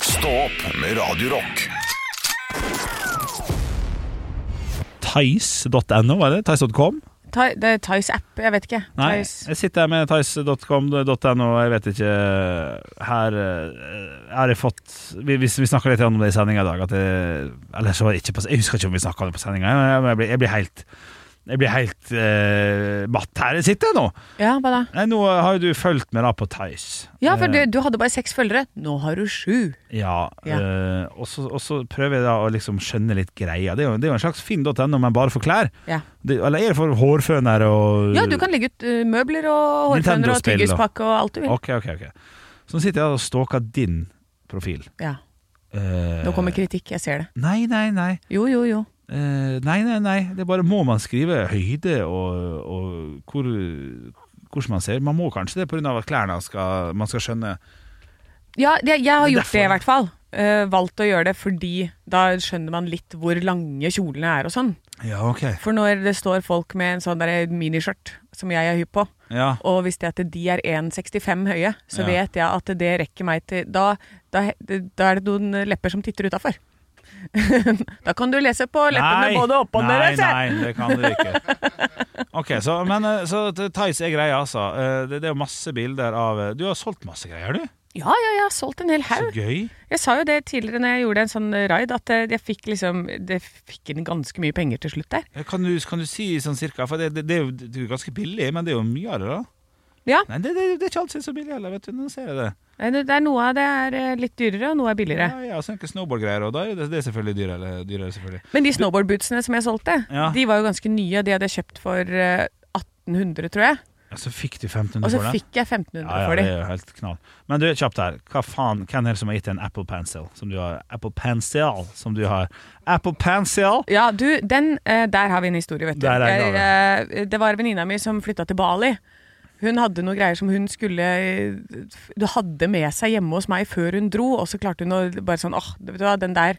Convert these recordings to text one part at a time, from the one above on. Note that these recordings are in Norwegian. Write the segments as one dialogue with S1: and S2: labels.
S1: Stå opp med Radio Rock
S2: Tice.no, var det? Tice.com?
S3: Thai- Det er Thais app, jeg vet ikke.
S2: Nei,
S3: Thais-
S2: jeg sitter her med tice.com.no, jeg vet ikke Her eh, har jeg fått Vi, vi, vi snakka litt om det i sendinga i dag, at jeg, eller så var det ikke på, jeg husker ikke om vi snakka om det på sendinga. Jeg, jeg, blir- jeg blir helt Jeg blir helt eh, matt her jeg sitter nå.
S3: Ja, hva da?
S2: Nei, nå har jo du fulgt med da på Tice.
S3: Ja, for
S2: Eh,
S3: du, du hadde bare seks følgere. Nå har du sju.
S2: Ja,
S3: Ja.
S2: eh, og, så, og så prøver jeg da å liksom skjønne litt greia. Det er jo, det er jo en slags finn.no, men bare for klær.
S3: Ja.
S2: Det, eller er det for hårføner og
S3: ja, du kan legge ut eh, møbler og hårføner og
S2: Nintendo-spill, da.
S3: tyggispakke og alt du vil.
S2: Ok, ok, ok. Så nå sitter jeg og stalker din profil.
S3: Ja.
S2: Eh,
S3: Nå kommer kritikk, jeg ser det.
S2: Nei, nei, nei.
S3: Jo, jo, jo.
S2: Eh, nei, nei, nei. Det er bare må man skrive høyde og, og hvor, hvordan man ser. Man må kanskje det pga. at klærne skal, man skal skjønne
S3: Ja, det, jeg har
S2: Det er
S3: gjort det i
S2: derfor.
S3: hvert fall. Eh, valgt å gjøre det fordi da skjønner man litt hvor lange kjolene er og sånn.
S2: Ja, ok.
S3: For når det står folk med en sånn der miniskjørt som jeg er hypp på,
S2: Ja,
S3: og hvis det at de er 1,65 høye, så
S2: Ja.
S3: vet jeg at det rekker meg til Da, da, da er det noen lepper som titter utafor. da kan du lese på leppene
S2: Nei,
S3: både opp og ned.
S2: Nei,
S3: altså.
S2: nei, det kan dere ikke. Ok, så, men eh, så Tice er greia, altså. Eh, Det, det er jo masse bilder av eh, Du har solgt masse greier, du.
S3: Ja, ja, jeg har solgt en hel
S2: Så
S3: haug.
S2: gøy.
S3: Jeg sa jo det tidligere når jeg gjorde en sånn raid, at eh, jeg fikk liksom Det fikk inn ganske mye penger til slutt der.
S2: Ja, Kan du, kan du si sånn cirka? For det, det, det, er jo, det er jo ganske billig, men det er jo mye av det, da.
S3: Ja.
S2: Nei, det, det, det er ikke alltid så billig heller, vet du. Nå ser jeg det.
S3: Nei, Det det er noe av det er eh, litt dyrere, og noe er billigere.
S2: Ja, ja, så er det ikke snowboardgreier, og da er jo det, det er selvfølgelig dyrere. eller- dyrere selvfølgelig.
S3: Men de snowboardbootsene som jeg solgte,
S2: Ja.
S3: de var jo ganske nye. og De hadde jeg kjøpt for eh, 1800, tror jeg.
S2: Ja, så fikk du 1500
S3: Og så
S2: for det.
S3: fikk jeg 1500
S2: ja, ja,
S3: for de.
S2: det er jo helt knall. Men du, kjapt her. Hva faen, hvem er det som har gitt deg en Apple Pencil? Som du har Apple Pencil, som du har Apple Pencil!
S3: Ja, du, den, eh, der har vi en historie, vet du.
S2: Der er en
S3: jeg, eh, det var venninna mi som flytta til Bali. Hun hadde noen greier som hun skulle eh, Du hadde med seg hjemme hos meg før hun dro, og så klarte hun å bare sånn åh, vet du hva, den der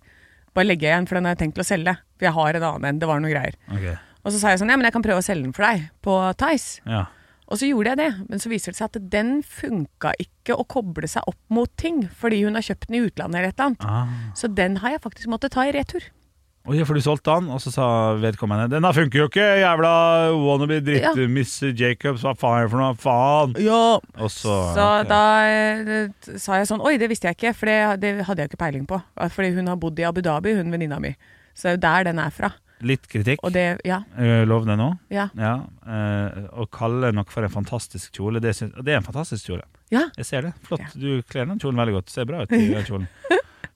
S3: bare legger jeg igjen, for den har jeg tenkt å selge. For jeg har en annen en. Det var noen greier.
S2: Ok,
S3: Og så sa jeg sånn, ja, men jeg kan prøve å selge den for deg på Tice.
S2: ja.
S3: Og så gjorde jeg det, men så viser det seg at den funka ikke å koble seg opp mot ting, fordi hun har kjøpt den i utlandet eller et eller annet.
S2: Ah.
S3: Så den har jeg faktisk måttet ta i retur.
S2: Og ja, for du solgte den, og så sa vedkommende Denne funker jo ikke, jævla wannabe dritt
S3: Ja.
S2: Miss Jacobs, hva faen er det for noe? Faen!
S3: Ja.
S2: Og så,
S3: Så
S2: ok.
S3: da eh, t- sa jeg sånn Oi, det visste jeg ikke, for det, det hadde jeg jo ikke peiling på. Fordi hun har bodd i Abu Dhabi, hun venninna mi. Så det er jo der den er fra.
S2: Litt kritikk.
S3: Og det Ja.
S2: Eh, Lov det nå.
S3: Ja.
S2: Ja. eh, Å kalle noe for en fantastisk kjole, det, syns- det er en fantastisk kjole.
S3: ja.
S2: Jeg ser det. Flott.
S3: Ja.
S2: Du kler den kjolen veldig godt. Ser bra ut i den kjolen.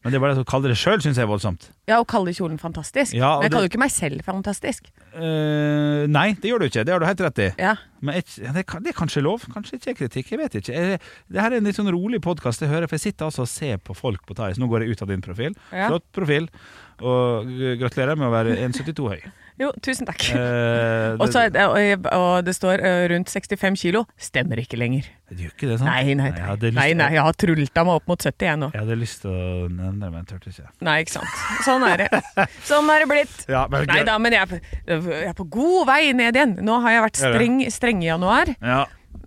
S2: Men det er bare det å kalle det sjøl syns jeg er voldsomt.
S3: ja og kaller kjolen fantastisk.
S2: Ja, og
S3: Men jeg kaller
S2: det-
S3: jo ikke meg selv fantastisk.
S2: Eh, nei, det gjør du ikke. Det har du helt rett i.
S3: Ja.
S2: Men jeg, ja, det, kan- det er kanskje lov, kanskje ikke er kritikk, jeg vet ikke. Jeg, det her er en litt sånn rolig podkast jeg hører, for jeg sitter altså og ser på folk på Thais. Nå går jeg ut av din profil.
S3: Ja.
S2: Flott profil. Og g- gratulerer med å være 1,72 høy.
S3: Jo, tusen takk.
S2: Eh,
S3: og,
S2: det,
S3: så, er det- og, jeg- og det står eh, rundt 65 kilo. Stemmer ikke lenger.
S2: det gjør ikke det, sant?
S3: Nei, nei,
S2: Jeg
S3: nei.
S2: hadde lyst,
S3: nei, nei jeg har trulta meg opp mot 70 jeg nå.
S2: Jeg hadde lyst til å nevne det, men jeg turte ikke.
S3: Nei, ikke sant. Sånn er det. Sånn er det blitt.
S2: Ja, men,
S3: Nei da, men jeg er, på, jeg er på god vei ned igjen. Nå har jeg
S2: Er
S3: vært
S2: det?
S3: streng, streng i januar.
S2: Ja.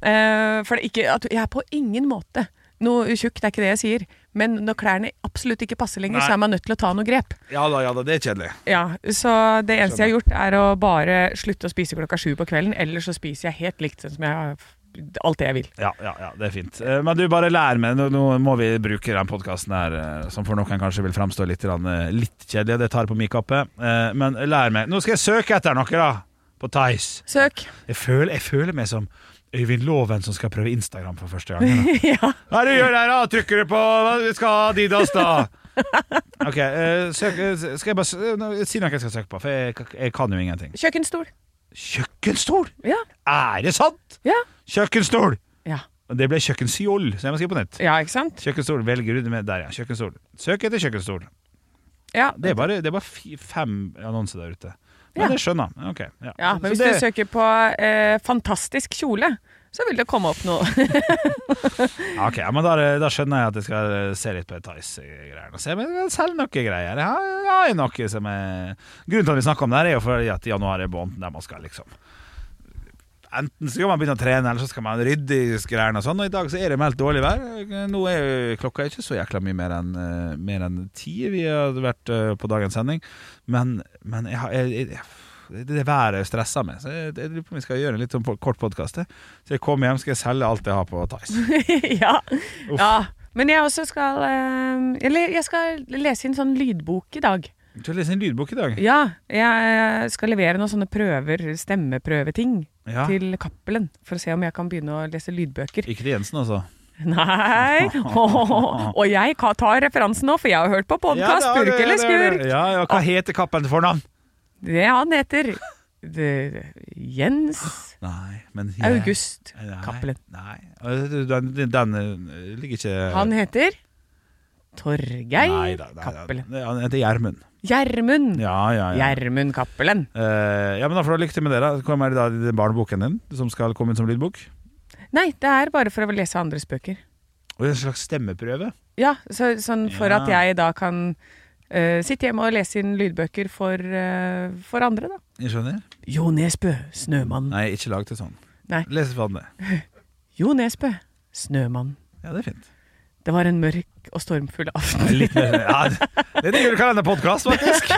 S3: Eh, for det er ikke, at jeg er på ingen måte noe tjukk, det er ikke det jeg sier. Men når klærne absolutt ikke passer lenger,
S2: Nei.
S3: så er man nødt til å ta noe grep.
S2: ja da, ja da, det er kjedelig.
S3: Ja, Så det eneste jeg har gjort, er å bare slutte å spise klokka sju på kvelden. Ellers så spiser jeg helt likt sånn som jeg alt det jeg vil.
S2: Ja, ja, ja, det er fint. Eh, Men du, bare lær meg. Nå, nå må vi bruke den podkasten her, eh, som for noen kanskje vil framstå litt, grann, eh, litt kjedelig. Det tar på min kappe. Eh, Men lær meg. Nå skal jeg søke etter noe, da. På Tice.
S3: Søk.
S2: Jeg føler, jeg føler meg som Øyvind Loven som skal prøve Instagram for første gang. da.
S3: ja.
S2: Hva er det du gjør der, da? Trykker du på hva Vi skal ha Adidas, da! OK, eh, søk, eh, skal jeg bare sø- nå, si noe jeg skal søke på, for jeg, jeg kan jo ingenting.
S3: Kjøkkenstol.
S2: Kjøkkenstol!
S3: Ja.
S2: Er det sant?
S3: Ja.
S2: Kjøkkenstol!
S3: ja.
S2: Og Det ble kjøkkenskjold, så jeg må skrive på nytt.
S3: Ja, ikke sant?
S2: Kjøkkenstol, velger du det med Der, ja. Kjøkkenstol. Søk etter kjøkkenstol.
S3: Ja.
S2: Det er bare, det er bare fi, fem annonser der ute. Men
S3: Ja.
S2: det skjønner jeg. Ok, ja.
S3: Ja,
S2: Så
S3: men hvis
S2: det,
S3: du søker på eh, 'fantastisk kjole', så vil det komme opp noe.
S2: Ja, ok, ja, men da, da skjønner jeg at jeg skal eh, se litt på Tice-greiene. og se, Men jeg selger noen greier. Jeg har, jeg har noe eh, som er Grunnen til at vi snakker om det, her er jo fordi at januar er måneden der man skal liksom Enten så skal man begynne å trene, eller så skal man rydde i greiene og sånn. Og i dag så er det meldt dårlig vær. Nå er jo klokka ikke så jækla mye mer enn eh, Mer enn ti vi har vært eh, på dagens sending. Men, men jeg, har- jeg, jeg, det det været stresser meg. Så jeg, jeg lurer på om vi skal gjøre en litt sånn po- kort podkast. Så jeg kommer hjem, skal jeg selge alt jeg har på Tice.
S3: ja. ja. Men jeg også skal eh, Eller jeg skal lese inn sånn lydbok i dag.
S2: Du leser en lydbok i dag.
S3: Ja, jeg eh, skal levere noen sånne prøver, stemmeprøveting,
S2: Ja.
S3: til Cappelen. For å se om jeg kan begynne å lese lydbøker.
S2: Ikke til Jensen, altså.
S3: Nei! Og jeg ka- tar referansen nå, for jeg har hørt på podkast.
S2: det har du,
S3: Skurk eller
S2: det har du.
S3: skurk?
S2: Ja, ja, hva heter kappen til fornavn?
S3: Det han heter det, Jens
S2: Nei, men
S3: August
S2: Ah, Nei,
S3: Cappelen.
S2: Nei, den, den, den ligger ikke
S3: Han heter
S2: Nei
S3: Torgeir
S2: da, nei da.
S3: Cappelen.
S2: Ja, Han heter Gjermund.
S3: Gjermund!
S2: Ja, ja, ja.
S3: Gjermund Cappelen.
S2: Eh, ja, men da får du lykke til med det. da Hva er det da i den barneboken din som skal komme inn som lydbok?
S3: Nei, det er bare for å lese andres bøker.
S2: Og en slags stemmeprøve?
S3: Ja, så, sånn for
S2: Ja.
S3: at jeg da kan eh, sitte hjemme og lese inn lydbøker for, eh, for andre, da.
S2: Jeg skjønner.
S3: Jo Nesbø, Snømann.
S2: Nei, ikke lag det sånn.
S3: Nei.
S2: Les fra den det.
S3: Jo Nesbø, Snømann.
S2: Ja, det er fint.
S3: Det var en mørk og stormfull aften.
S2: Litt mer ja, Det er en julekalenderpodkast, faktisk!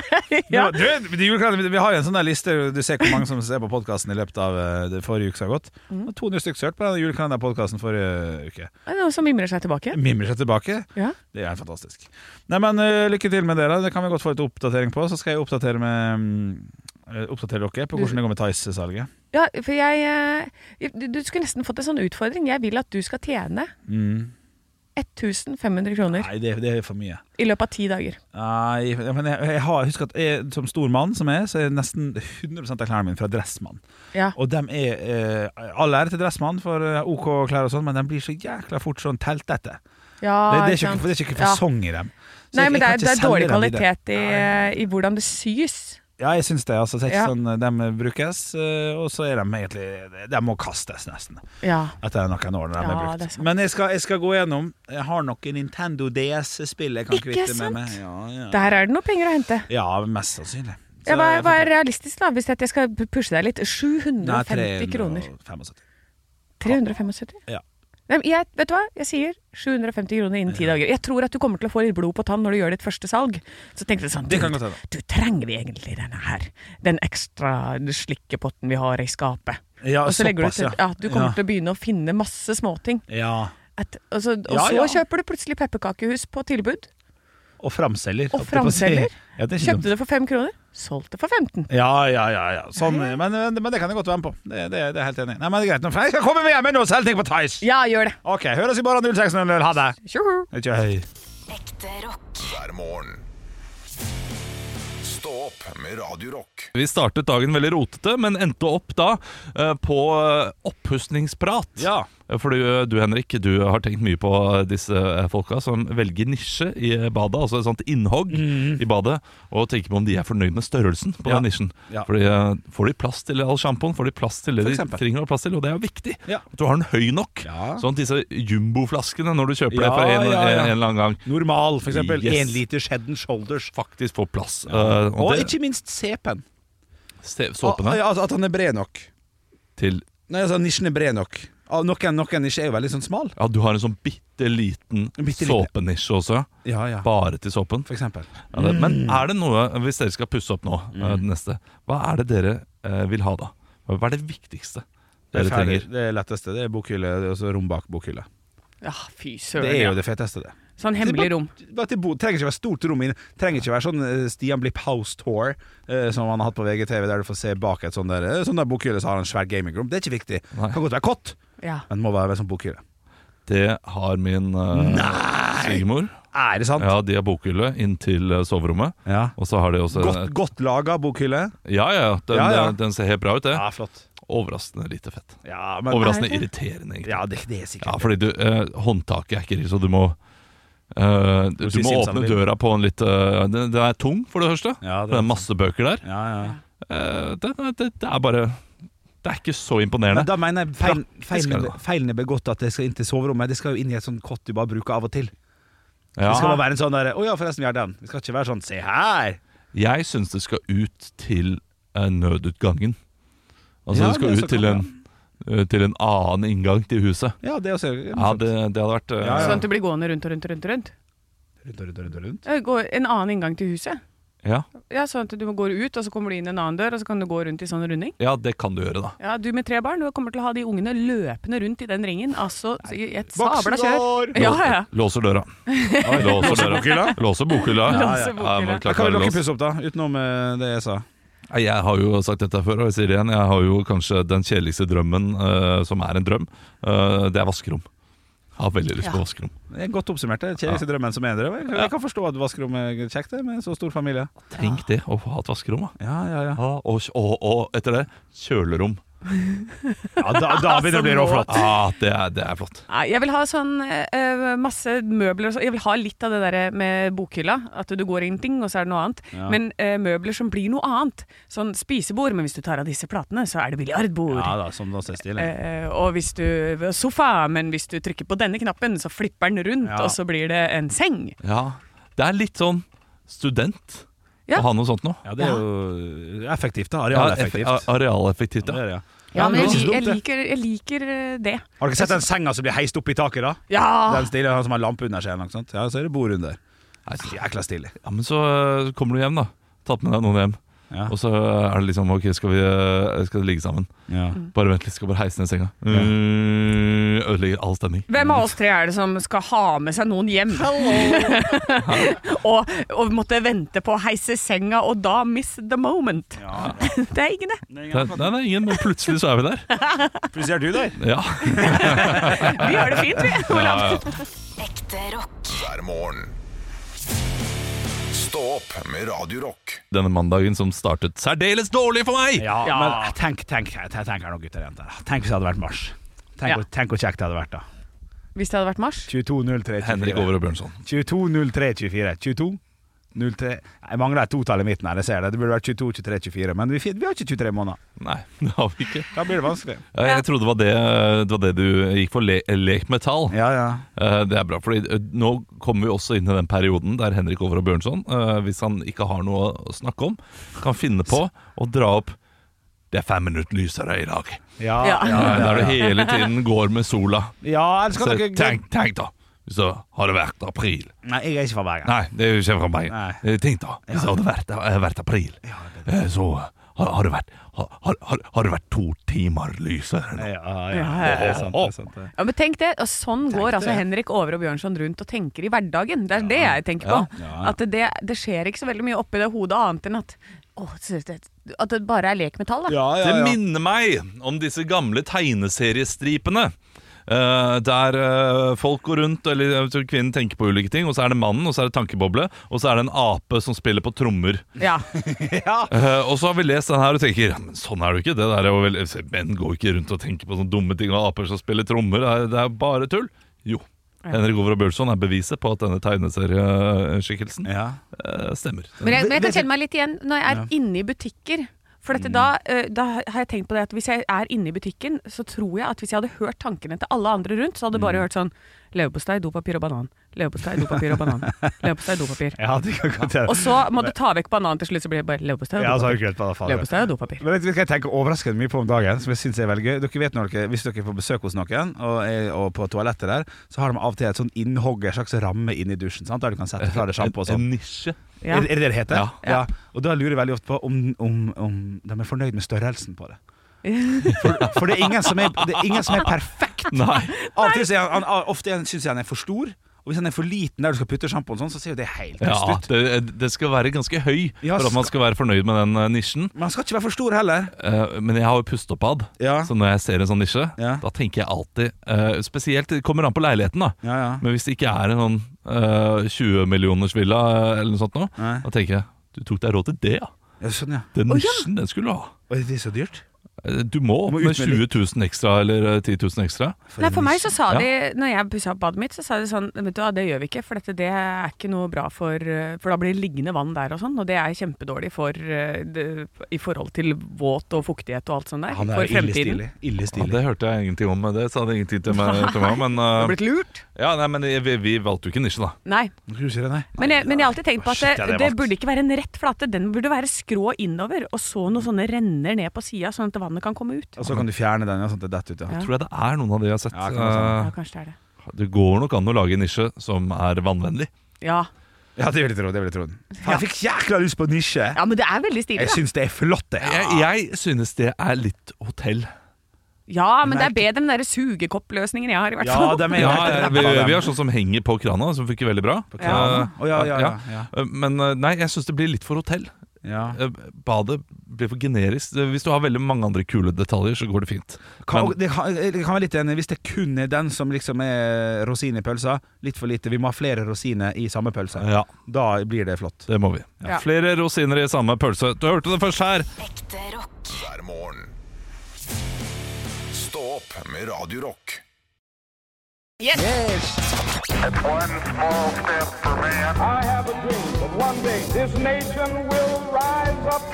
S3: Ja.
S2: Du, du, de julekalender- vi har jo en sånn der liste Du ser hvor mange som ser på podkasten i løpet av eh, det forrige uke som har gått.
S3: Mm.
S2: Det var 200 stykker som hørte på den julekalenderpodkasten forrige uke.
S3: Er det noen som mimrer seg tilbake?
S2: Mimrer seg tilbake.
S3: Ja.
S2: Det er fantastisk. Nei, men eh, Lykke til med dere. Det kan vi godt få et oppdatering på. Så skal jeg oppdatere, med, mm, eh, oppdatere dere på
S3: Du-
S2: hvordan det går med Tice-salget.
S3: Ja, for jeg eh, du- Du skulle nesten fått en sånn utfordring. Jeg vil at du skal tjene
S2: Mm.
S3: 1500 kroner
S2: Nei, det, det er for mye.
S3: i løpet av ti dager.
S2: Nei, men jeg, jeg har, husk at jeg, som stor mann som jeg er, så er nesten 100 av klærne mine fra Dressmann.
S3: Ja.
S2: Og dem er eh, All ære til Dressmann for eh, OK klær og sånn, men de blir så jækla fort sånn teltete. Det, det,
S3: Ja,
S2: er
S3: Ah, ikke
S2: ikke,
S3: sant?
S2: det er ikke
S3: Ja.
S2: fasong i dem. Så
S3: Nei,
S2: jeg-
S3: men
S2: jeg
S3: det
S2: kan
S3: er,
S2: ikke
S3: det er
S2: selge
S3: dårlig
S2: dem videre.
S3: kvalitet i, eh, i hvordan det sys.
S2: Ja, jeg syns det. altså, det er ikke
S3: Ja.
S2: sånn De brukes, eh, og så er de egentlig eh, De må kastes, nesten.
S3: Ja.
S2: Etter noen år når de
S3: Ja,
S2: er
S3: det er
S2: brukt.
S3: sant.
S2: Men jeg skal, jeg skal gå gjennom. Jeg har noen Nintendo DS-spill jeg kan
S3: Ikke
S2: kvitte med
S3: sant?
S2: meg. Ja, ja.
S3: Der er det noe penger å hente.
S2: ja, mest sannsynlig. Så
S3: Ja, hva,
S2: jeg får
S3: hva
S2: ta-
S3: er realistisk, da? Hvis jeg skal pushe deg litt. 750
S2: Nei,
S3: kroner.
S2: 375.
S3: 375?
S2: Ja.
S3: Nei, men jeg, vet du hva? Jeg sier 750 kroner innen ti dager. Jeg tror at du kommer til å få litt blod på tann når du gjør ditt første salg. Så tenkte jeg sånn
S2: Det kan
S3: du,
S2: godt hende.
S3: du trenger vi egentlig denne her. Den ekstra slikkepotten vi har i skapet.
S2: Ja,
S3: og så legger
S2: såpass,
S3: du til
S2: ja.
S3: ja, du kommer
S2: Ja.
S3: til å begynne å finne masse småting.
S2: Ja.
S3: Et- Og så, og
S2: Ja,
S3: så
S2: ja.
S3: kjøper du plutselig pepperkakehus på tilbud.
S2: Og framselger.
S3: Og
S2: holdt jeg på å si.
S3: framselger.
S2: Ja, det er ikke dumt.
S3: Kjøpte det for fem kroner, solgte for 15.
S2: Ja, ja, ja. ja. Sånn, men, men det kan jeg godt være med på. Det, det, det er jeg helt enig i. Nei, men det er greit. nå, for Jeg skal komme med hjem nå og selge ting på Tice!
S3: Ja, gjør det.
S2: Ok, høres i morgen 06.00. Ha det!
S3: Tjoho!
S2: Ikke høy.
S4: Ekte rock.
S1: hver morgen. Stå opp med Radio Rock.
S5: Vi startet dagen veldig rotete, men endte opp da eh, på eh, opphustningsprat.
S2: Ja.
S5: For du, eh, du, Henrik, du har tenkt mye på eh, disse eh, folka som velger nisje i eh, badet, altså et sånt innhogg i badet, og tenker på om de er fornøyd med størrelsen på
S2: Mm. Ja.
S5: den nisjen.
S2: Ja.
S5: Fordi eh, får de plass til all sjampoen, får de plass til det
S2: For
S5: de
S2: eksempel.
S5: trenger å ha plass til, og det er jo viktig.
S2: Ja.
S5: At du har den høy nok,
S2: Ja.
S5: sånn at disse jumboflaskene når du kjøper det
S2: Ja,
S5: for en,
S2: ja, ja.
S5: en eller annen gang,
S2: Normal, for eksempel.
S5: Yes.
S2: Én liters head and shoulders.
S5: faktisk får plass. Eh,
S2: Og,
S5: og det,
S2: ikke minst CP-en.
S5: se- såpene
S2: Al- altså At han er bred nok.
S5: til
S2: Nei, altså Nisjen er bred nok. Al- Noen, noen nisjer er jo veldig sånn smal.
S5: Ja, du har en sånn bitte liten
S2: En bitte liten.
S5: såpenisje også.
S2: Ja, ja.
S5: Bare til såpen.
S2: For eksempel.
S5: Ja, det, men er det noe, hvis dere skal pusse opp nå, eh,
S2: Mm.
S5: det neste, hva er det dere eh, vil ha da? Hva er det viktigste
S2: Det
S5: dere
S2: er ferdig.
S5: trenger?
S2: Det er letteste. Det er bokhylle, og så rom bak bokhylle.
S3: Ja, Ah, fy
S2: Det
S3: søren.
S2: er
S3: Ja.
S2: jo det feteste, det.
S3: Sånn hemmelig rom.
S2: Bare til bo, trenger ikke være stort rom inne. Trenger ikke være sånn eh, Stian Blipp House Tour eh, som han har hatt på VGTV, der du får se bak et sånn der eh, Sånn der bokhylle så har han en svær gamingrom. Det er ikke viktig.
S5: Nei.
S2: Kan godt være kott,
S3: Ja.
S2: men må være sånn bokhylle.
S5: Det har min eh, svigermor.
S2: Er det sant?
S5: Ja, de har bokhylle inn til eh, soverommet.
S2: Ja.
S5: Og så har de også
S2: Godt, godt laga bokhylle.
S5: Ja, ja, ja, den,
S2: Ja, ja.
S5: den ser helt bra ut, det.
S2: Ja, flott.
S5: Overraskende lite fett.
S2: Ja, men
S5: Overraskende
S3: Er det?
S5: irriterende, egentlig.
S2: Ja, det, det er
S5: Ja,
S2: sikkert.
S5: fordi du, eh, håndtaket er ikke riktig, så du må eh, du,
S2: sier
S5: må
S2: simsalabim.
S5: åpne døra på en litt eh, Den den er tung, for det første.
S2: Ja, det
S5: det,
S2: er
S5: er masse bøker der.
S2: Ja, ja.
S5: Eh, det, det, det er bare Det er ikke så imponerende.
S2: Men da mener jeg feil,
S5: skal
S2: feilen,
S5: det da.
S2: feilen er begått at det skal inn til soverommet. Det skal jo inn i et sånt kott du bare bruker av og til. Det skal
S5: ja.
S2: bare være en sånn derre Å ja, forresten, vi har den. Det skal ikke være sånn Se her!
S5: Jeg syns det skal ut til eh, nødutgangen. Altså,
S2: Ja,
S5: det skal
S2: det
S5: ut
S2: så
S5: til
S2: kan
S5: en eh, til en annen inngang til huset.
S2: Ja, det også gjør
S5: Ja, det, det hadde vært eh,
S2: Ja, ja.
S3: Sånn at du blir gående rundt og rundt og rundt. og rundt.
S2: Rundt og rundt og rundt. og rundt.
S3: Ja, gå En annen inngang til huset.
S5: ja.
S3: Ja, Sånn at du går ut, og så kommer du inn en annen dør, og så kan du gå rundt i sånn runding.
S5: ja, det kan du gjøre, da.
S3: Ja, Du med tre barn, du kommer til å ha de ungene løpende rundt i den ringen. Altså, i et sabla kjør.
S2: Voksenår!
S3: Ja, ja.
S5: Låser døra. Låser bokhylla. Låser bokhylla.
S3: Låser bokhylla.
S5: må klart
S2: Da kan
S5: være
S2: vel dere
S5: låst.
S2: pusse opp, da? Utenom eh, det jeg sa.
S5: Nei, Jeg har jo sagt dette før, og jeg sier det igjen. Jeg har jo kanskje den kjedeligste drømmen eh, som er en drøm. eh, det er vaskerom. Jeg har veldig lyst på
S3: Ja.
S5: vaskerom.
S2: Det er Godt oppsummert. det. Kjedeligste drømmen som er en drøm. Jeg- Jeg kan forstå at vaskerommet er kjekt det, med en så stor familie.
S5: Tenk det, å ha et vaskerom. da.
S2: Ja, ja, ja.
S5: Ja, og, og, og etter det, kjølerom.
S2: ja da, da begynner det å bli råflott.
S5: Ja, det er, det er flott.
S3: Nei, jeg vil ha sånn eh, masse møbler og så. Jeg vil ha litt av det der eh, med bokhylla. At du går inn ting, og så er det noe annet.
S2: Ja.
S3: Men eh, møbler som blir noe annet. Sånn spisebord, men hvis du tar av disse platene, så er det biljardbord.
S2: Ja da, som dansestil. ja.
S3: Eh, og hvis du Sofa, men hvis du trykker på denne knappen, så flipper den rundt,
S2: Ja.
S3: og så blir det en seng.
S5: Ja, Det er litt sånn student
S3: Ja.
S5: å ha noe sånt nå.
S2: Ja, det er jo effektivt, da.
S5: Ja, eff-
S2: Arealeffektivt.
S5: a- Arealeffektivt,
S2: Det
S5: ja.
S2: er det, ja.
S3: Ja, men
S2: det er ikke
S3: jeg, li- jeg,
S2: så dumt,
S3: liker, jeg liker eh, det.
S2: Har dere sett den senga som blir heist opp i taket, da?
S3: Ja!
S2: Den stilen han som har lampe under seg, eller noe sånt. Ja, så er det bord under.
S5: Nei, så-
S2: Jækla stilig.
S5: ja men så eh, kommer du hjem, da. Tatt med deg noen hjem.
S2: Ja.
S5: Og så er det liksom OK, skal vi eh, skal ligge sammen?
S2: Ja.
S3: Mm.
S5: Bare vent litt, skal bare heise ned senga.
S2: Ja.
S5: Mm, ødelegger all stemning.
S3: Hvem av oss tre er det som skal ha med seg noen hjem? og, og måtte vente på å heise senga, og da miss the moment. det er ingen det.
S5: Nei, nei, nei, ingen, men plutselig så er vi der.
S2: Plutselig er du der.
S5: Ja.
S3: Vi gjør det fint, vi.
S5: ja,
S3: Olav.
S5: ja.
S4: Ekte rock.
S1: hver morgen. Stå opp med Radio Rock.
S5: Denne mandagen som startet særdeles dårlig for meg!
S2: Ja,
S3: Ja.
S2: men tenk, tenk, tenk, tenk her nå, gutter og jenter. Tenk hvis det hadde vært mars. Tenk,
S3: Ja.
S2: hvor- tenk hvor kjekt det hadde vært, da.
S3: Hvis det hadde vært mars.
S2: 22.03.24.
S5: Henrik Over og Bjørnson.
S2: 22.03.24. 22. 03. Jeg mangler et totall i midten her, jeg ser det. Det burde vært 22, 23, 24. Men vi, fi- vi har ikke 23 måneder.
S5: Nei, det har vi ikke.
S2: Da blir det vanskelig.
S5: Jeg, jeg trodde det var det, det var det du gikk for, le, lek med tall.
S2: Ja, ja.
S5: Eh, Det er bra, fordi eh, nå kommer vi også inn i den perioden der Henrik Over og Bjørnson, eh, hvis han ikke har noe å snakke om, kan finne på å dra opp det er fem minutter lysere i dag.
S2: Ja,
S3: Ja.
S5: Eh, Der du
S2: ja, ja.
S5: hele tiden går med sola.
S2: ja eller skal
S5: Så
S2: dere
S5: tenk, tenk da, så har det vært april.
S2: Nei, jeg er ikke fra Bergen.
S5: Nei, det er jo ikke fra meg.
S2: Nei.
S5: Eh, Tenk da, hvis det hadde vært, eh, vært april, eh, så har, har, det vært, har, har, har det vært to timer lysere nå.
S2: Ja, ja,
S3: Ja,
S2: det
S3: ja,
S2: er sant. Det er sant det.
S3: Ja, men tenk det, og Sånn går altså
S2: det.
S3: Henrik Over og Bjørnson rundt og tenker i hverdagen. Det er det jeg tenker på.
S5: Ja,
S2: ja, ja.
S3: At det, det skjer ikke så veldig mye oppi det hodet annet enn at å, så det- At det bare er lek med tall, da.
S5: Det minner meg om disse gamle tegneseriestripene. eh, der eh, folk går rundt, eller jeg tror kvinnen tenker på ulike ting, og så er det mannen, og så er det tankeboble, og så er det en ape som spiller på trommer.
S3: Ja.
S5: Eh, og så har vi lest den her og tenker ja, men sånn er det jo ikke. Det der er jo vel, menn går jo ikke rundt og tenker på sånne dumme ting og aper som spiller trommer. Det er, det er bare tull. Jo. Henrik Over og Bjørnson er beviset på at denne tegneserieskikkelsen
S2: Ja.
S5: eh, stemmer.
S3: Men jeg, men jeg kan kjenne meg litt igjen når jeg er inne i butikker. For dette,
S2: Mm.
S3: da, eh, da har jeg tenkt på det at hvis jeg er inne i butikken, så tror jeg at hvis jeg hadde hørt tankene til alle andre rundt, så hadde jeg
S2: Mm.
S3: bare hørt sånn Leverpostei, dopapir og banan. Leverpostei, dopapir og banan. Leverpostei, dopapir.
S2: ja, det kan godt
S3: Og
S2: hende.
S3: så må du ta vekk bananen til slutt, så blir det bare leverpostei og
S2: Ja, så har
S3: dopapir.
S2: jeg ikke rett på det. faen.
S3: Leverpostei og dopapir.
S2: Men vet du hva jeg tenker overraskende mye på om dagen, som jeg synes er veldig gøy? Dere vet når dere, Hvis dere er på besøk hos noen, og, er, og på toalettet der, så har de av og til et sånn innhogg, en slags ramme inni dusjen, sant? der du kan sette fra deg sjampo og
S5: En,
S2: sånn.
S5: en nisje.
S3: Ja.
S2: Er, er det det det heter?
S5: Ja.
S2: Og da lurer jeg veldig ofte på om, om, om de er fornøyd med størrelsen på det. For, for det, er ingen som er, det er ingen som er perfekt.
S5: Nei.
S2: Av og til så er han, han, ofte syns jeg han er for stor, og hvis han er for liten der du skal putte sjampoen, sånn, så ser jo det helt
S5: Ja,
S2: dust ut.
S5: det, det skal være ganske høy
S2: Ja,
S5: for at man skal være fornøyd med den eh, nisjen.
S2: Men han skal ikke være for stor heller.
S5: Eh, men jeg har jo pusteoppad,
S2: Ja.
S5: så når jeg ser en sånn nisje,
S2: Ja.
S5: da tenker jeg alltid eh, Spesielt det kommer an på leiligheten, da.
S2: Ja, ja.
S5: Men hvis det ikke er en sånn eh, 20 millioners villa eh, eller noe sånt nå,
S2: Nei.
S5: da tenker jeg du tok deg råd til det, ja.
S2: Ja, sånn, ja.
S5: Den
S3: Å, ja.
S5: nisjen den skulle du ha.
S2: Og er det så dyrt?
S5: Eh, Du må
S2: Du
S5: opp
S2: må
S5: med
S2: ut med
S5: 20 000 ekstra eller eh, 10 000 ekstra.
S3: Nei, for meg så sa de, når jeg pussa opp badet mitt, så sa de sånn Vet du hva, det gjør vi ikke, for dette det er ikke noe bra for eh, For da blir det liggende vann der og sånn, og det er kjempedårlig for eh, det, I forhold til våt og fuktighet og alt sånt der.
S2: Han er
S3: for
S2: jo ille stilig. Ille
S5: Ja,
S2: stilig.
S5: det hørte jeg ingenting om, men det sa de ingenting til meg, til meg om. Men,
S3: Du
S5: eh,
S3: har blitt lurt?
S5: ja, nei, men vi, vi valgte jo ikke nisje, da.
S3: Nei.
S2: Nå skal du si det, nei.
S3: Men jeg, men jeg har alltid tenkt på
S2: Shit,
S3: at
S2: ja,
S3: det,
S2: det
S3: det
S2: var-
S3: burde ikke være en rett flate, den burde være skrå innover, og så noen sånne renner ned på sida, sånn at
S6: vannet kan komme ut.
S2: Og så kan du fjerne den, ja, sånn at det detter ut. Ja.
S6: Ja.
S5: Tror jeg det er noen av de jeg har sett.
S2: Ja, kan være sånn.
S6: Ja, kanskje det er det.
S5: Eh, det går nok an å lage en nisje som er vannvennlig.
S6: Ja,
S2: ja, det vil jeg tro. det vil Jeg tro Faen, jeg fikk jækla lyst på nisje!
S6: ja men det er veldig stilig,
S2: Jeg
S6: da.
S2: syns det er flott, det.
S5: Jeg, jeg synes det er litt hotell.
S6: Ja, men det er bedre enn den derre sugekoppløsningen jeg har, i hvert
S2: Ja,
S6: fall.
S2: det mener
S5: Ja,
S2: jeg.
S5: vi, vi har sånn som henger på krana, som funker veldig bra.
S2: krana?
S5: Eh,
S2: Å, ja, ja, ja, ja.
S5: Eh, Men eh, nei, jeg syns det blir litt for hotell.
S2: ja.
S5: Eh, Badet blir for generisk. Eh, Hvis du har veldig mange andre kule detaljer, så går det fint.
S2: Kan,
S5: Men
S2: det kan, jeg kan være litt enig Hvis det kun er den som liksom er rosin i pølsa, litt for lite. Vi må ha flere rosiner i samme pølse.
S5: ja,
S2: Da blir det flott.
S5: det må vi.
S6: Ja.
S5: Flere rosiner i samme pølse. Du hørte det først her.
S4: Ekte rock.
S1: hver morgen. Stå opp med Radio Rock.
S7: I have a dream that one day this nation will rise up.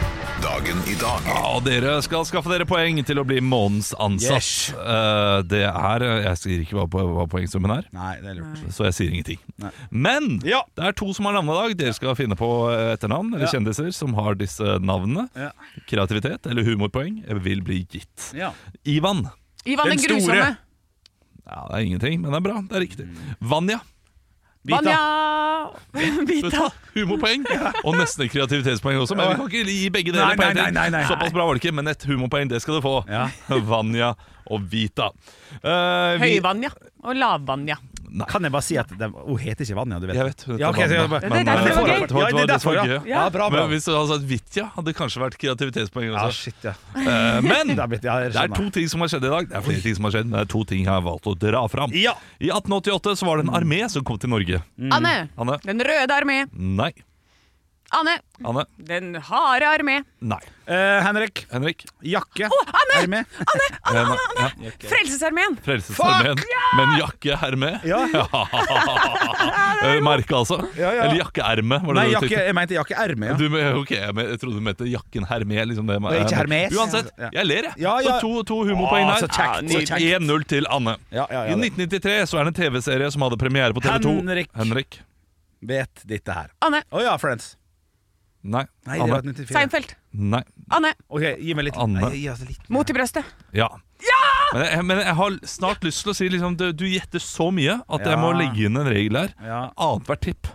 S1: Dagen i dag
S5: Ja, og dere skal skaffe dere poeng til å bli månedens ansatt.
S2: Yes.
S5: Eh, det er Jeg sier ikke hva, po- hva poengsummen er,
S2: Nei, det er lurt.
S5: så jeg sier ingenting. Men det er to som har navnedag. Dere skal finne på eh, etternavn eller kjendiser som har disse navnene.
S2: Ja.
S5: Kreativitet eller humorpoeng vil bli gitt.
S2: Ja.
S5: Ivan.
S6: Ivan den,
S5: Den store.
S6: grusomme.
S5: Ja, det er ingenting, men det er bra. Det er riktig.
S2: Mm.
S5: Vanja.
S6: Vanja!
S5: Vita. Humorpoeng og nesten et kreativitetspoeng også, men vi kan ikke gi begge
S2: Nei,
S5: deler poeng.
S2: nei, nei, nei, nei.
S5: Såpass bra var det ikke, men et humorpoeng, det skal du få.
S2: Ja.
S5: Vanja og Vita. Eh, vi-
S6: Høyvanja og Lavvanja.
S2: Kan jeg bare si at det, hun heter ikke Vanja, du vet.
S5: Jeg vet. hun heter
S2: Ja, ok, så jeg
S5: Vanja,
S2: bare-
S6: Det er
S5: men,
S6: derfor det var
S5: eh,
S6: gøy.
S5: det var-
S2: Ja, det er
S5: det var
S2: derfor,
S5: gøy.
S2: ja. Ja, bra, bra.
S5: Men hvis du hadde sagt Vitja, hadde det kanskje vært kreativitetspoeng
S2: Ja,
S5: også.
S2: shit, ja.
S5: Eh, men
S2: Det er blitt- ja, jeg
S5: det er
S2: skjønner.
S5: to ting som har skjedd i dag. Det er flere ting som har skjedd, men det er to ting jeg har valgt å dra fram.
S2: Ja.
S5: I 1888 så var det en
S2: Mm.
S5: armé som kom til Norge.
S6: Anne!
S5: Anne?
S6: Den røde armé.
S5: Nei.
S6: Anne!
S5: Anne?
S6: Den harde armé.
S5: Nei.
S2: Eh, Henrik.
S5: Henrik?
S2: Jakke.
S6: Anne!
S2: Er du med?
S5: Anne, Anne, Anne.
S6: Frelsesarmeen!
S5: Frelsesarmeen. Men jakke er med.
S2: Ja.
S5: Eh, Merke, altså.
S2: Ja, ja.
S5: Eller jakkeerme, var det
S2: Nei,
S5: det du
S2: jakke,
S5: tenkte.
S2: jeg mente jakkeerme. Ja.
S5: Du, men- ok, jeg men- jeg trodde du mente jakken hermé. Liksom det,
S2: Og ikke Hermes.
S5: Uansett,
S2: Ja.
S5: jeg ler, jeg.
S2: Ja, ja.
S5: Så to, to humorpoeng
S2: Å, så
S5: der.
S2: kjekt, så kjekt.
S5: 1-0 til Anne.
S2: Ja, ja, ja,
S5: I
S2: det.
S5: 1993 så er det en TV-serie som hadde premiere på TV2.
S2: Henrik.
S5: Henrik.
S2: Vet dette her.
S6: Anne!
S2: Å ja, Friends.
S5: Nei.
S2: Nei, det
S5: Anne.
S2: var 94.
S6: Seinfeld.
S5: Nei.
S6: Anne!
S2: Ok, gi meg litt.
S5: Anne.
S2: Nei, gi oss litt.
S6: Mot i brøstet.
S5: Ja. Men, jeg, men jeg har snart lyst til å si liksom, du, du gjetter så mye at jeg må
S2: Ja.
S5: legge inn en regel her.
S2: Ja.
S5: Annethvert tipp.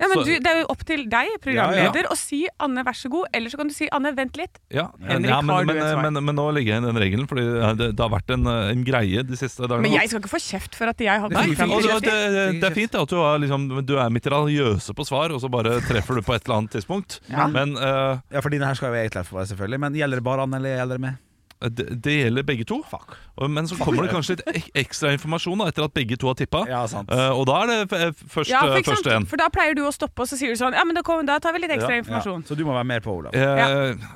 S6: Ja, men
S5: Så-
S6: du, Det er jo opp til deg,
S5: Ja,
S6: programleder,
S5: ja.
S6: å si 'Anne, vær så god', eller så kan du si 'Anne, vent litt'.
S5: Ja,
S6: Henrik,
S5: ja men,
S6: har du
S5: men, eh,
S6: et svar?
S5: men, men, nå legger jeg inn den regelen, Fordi eh, det, det har vært en, en greie de siste dagene.
S6: Men jeg skal ikke få kjeft for at jeg har
S5: Nei,
S6: kommet fram
S5: og
S6: til riktig.
S5: det, det, det er fint da, at du er, liksom, du er mitraljøse på svar, og så bare treffer du på et eller annet tidspunkt. Men eh,
S2: Ja, for dine her skal jo jeg klare for, selvfølgelig. Men gjelder det bare Anne, eller gjelder det meg?
S5: det, det gjelder begge to. Og- Men så kommer det kanskje litt ek- ekstra informasjon da, etter at begge to har tippa.
S2: Ja, sant.
S5: Eh, og da er det f- f- først,
S6: Ja, for,
S5: eh,
S6: ikke sant?
S5: første en.
S6: for da pleier du å stoppe, og så sier du sånn Ja, men da, kom, da tar vi litt ekstra informasjon.
S2: Så du må være mer på, Olav.
S5: Eh,
S6: Ja.
S5: det-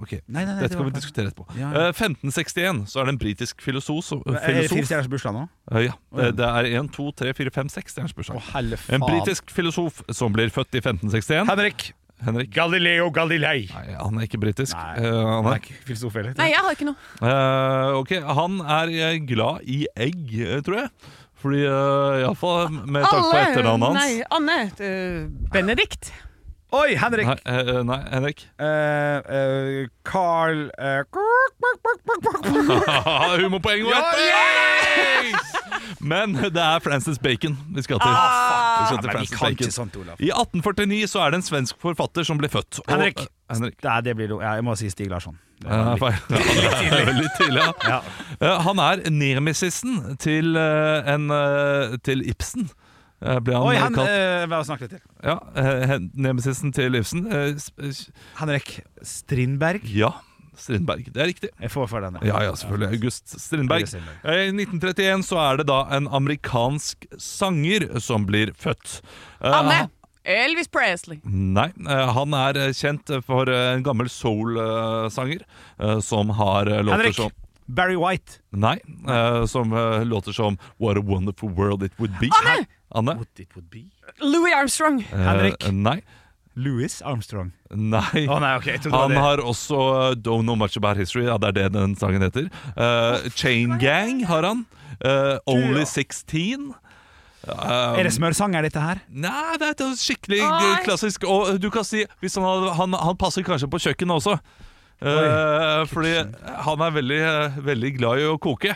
S5: Ok,
S2: Nei, nei, nei,
S5: dette
S2: det
S5: kan
S2: var
S5: vi diskutere etterpå.
S2: Ja, ja.
S5: Eh, 1561 så er det en britisk filosof. som-
S2: Er det fire
S5: filosof
S2: stjerners bursdag nå?
S5: Eh, ja, det, det er 1, 2, 3, 4, 5, 6 stjerners bursdag.
S2: Å, helle faen.
S5: En britisk filosof som blir født i 1561.
S2: Henrik.
S5: Henrik.
S2: Galileo Galilei.
S5: Nei, han er ikke britisk.
S2: Nei.
S5: Eh, han er.
S2: Nei, ikke filosof heller.
S6: Nei, jeg har ikke noe.
S5: Eh, ok, han er eh, glad i egg, eh, tror jeg. Fordi eh, i alle fall med takk på etternavnet hans.
S6: Nei, Anne. øh, Benedikt.
S2: Oi, Henrik!
S5: Nei, eh, nei, Henrik.
S2: Eh, eh, Carl eh,
S5: Humorpoeng og ett poeng! Men det er Francis Bacon vi skal til.
S2: Ah!
S5: vi skal
S2: Men
S5: til
S2: vi
S5: Francis
S2: kan
S5: Bacon.
S2: ikke sånt, Olav.
S5: I 1849 så er det en svensk forfatter som ble født. Og-
S2: Henrik.
S5: eh, Henrik.
S2: Nei, det blir noe Ja, jeg må si Stig Larsson. Det
S5: Ja,
S2: var
S5: det er feil. Ja, det er Litt tidlig, ja.
S2: Ja.
S5: Eh, Han er nemesisen til, eh, en, eh, til Ibsen. eh, Ble han
S2: Oi,
S5: eh,
S2: han
S5: kalt.
S2: eh, Hva snakker vi til?
S5: Ja, eh, hen- nemesisen til Ibsen. eh, s- eh,
S2: Henrik Strindberg.
S5: Ja, Strindberg. Det er riktig.
S2: Jeg får for denne.
S5: Ja, ja, selvfølgelig. August Strindberg.
S2: August Strindberg.
S5: Eh, I 1931 så er det da en amerikansk sanger som blir født. Eh,
S6: Anne.
S5: han-
S6: Elvis Presley.
S5: Nei. eh, Han er eh, kjent for eh, en gammel soul-sanger som har eh, låter
S2: Henrik
S5: som
S2: Barry White.
S5: Nei. eh, Som eh, låter som What a wonderful world it would be.
S6: Anne!
S5: Anne?
S6: Louis Armstrong.
S5: Eh,
S2: Henrik.
S5: Nei.
S2: Louis Armstrong.
S5: Nei.
S2: Å nei, ok, jeg trodde
S5: Han
S2: det var det.
S5: har også uh, Don't Know Much About History, ja, det er det den sangen heter. Uh, Chain Gang har han. Uh, Only 16. Uh,
S2: Er det smørsanger, dette her?
S5: Nei, det er et skikkelig
S6: Nei.
S5: eh, klassisk Og uh, du kan si hvis han, hadde, han, han passer kanskje på kjøkkenet også. Eh, fordi han er veldig, eh, veldig glad i å koke.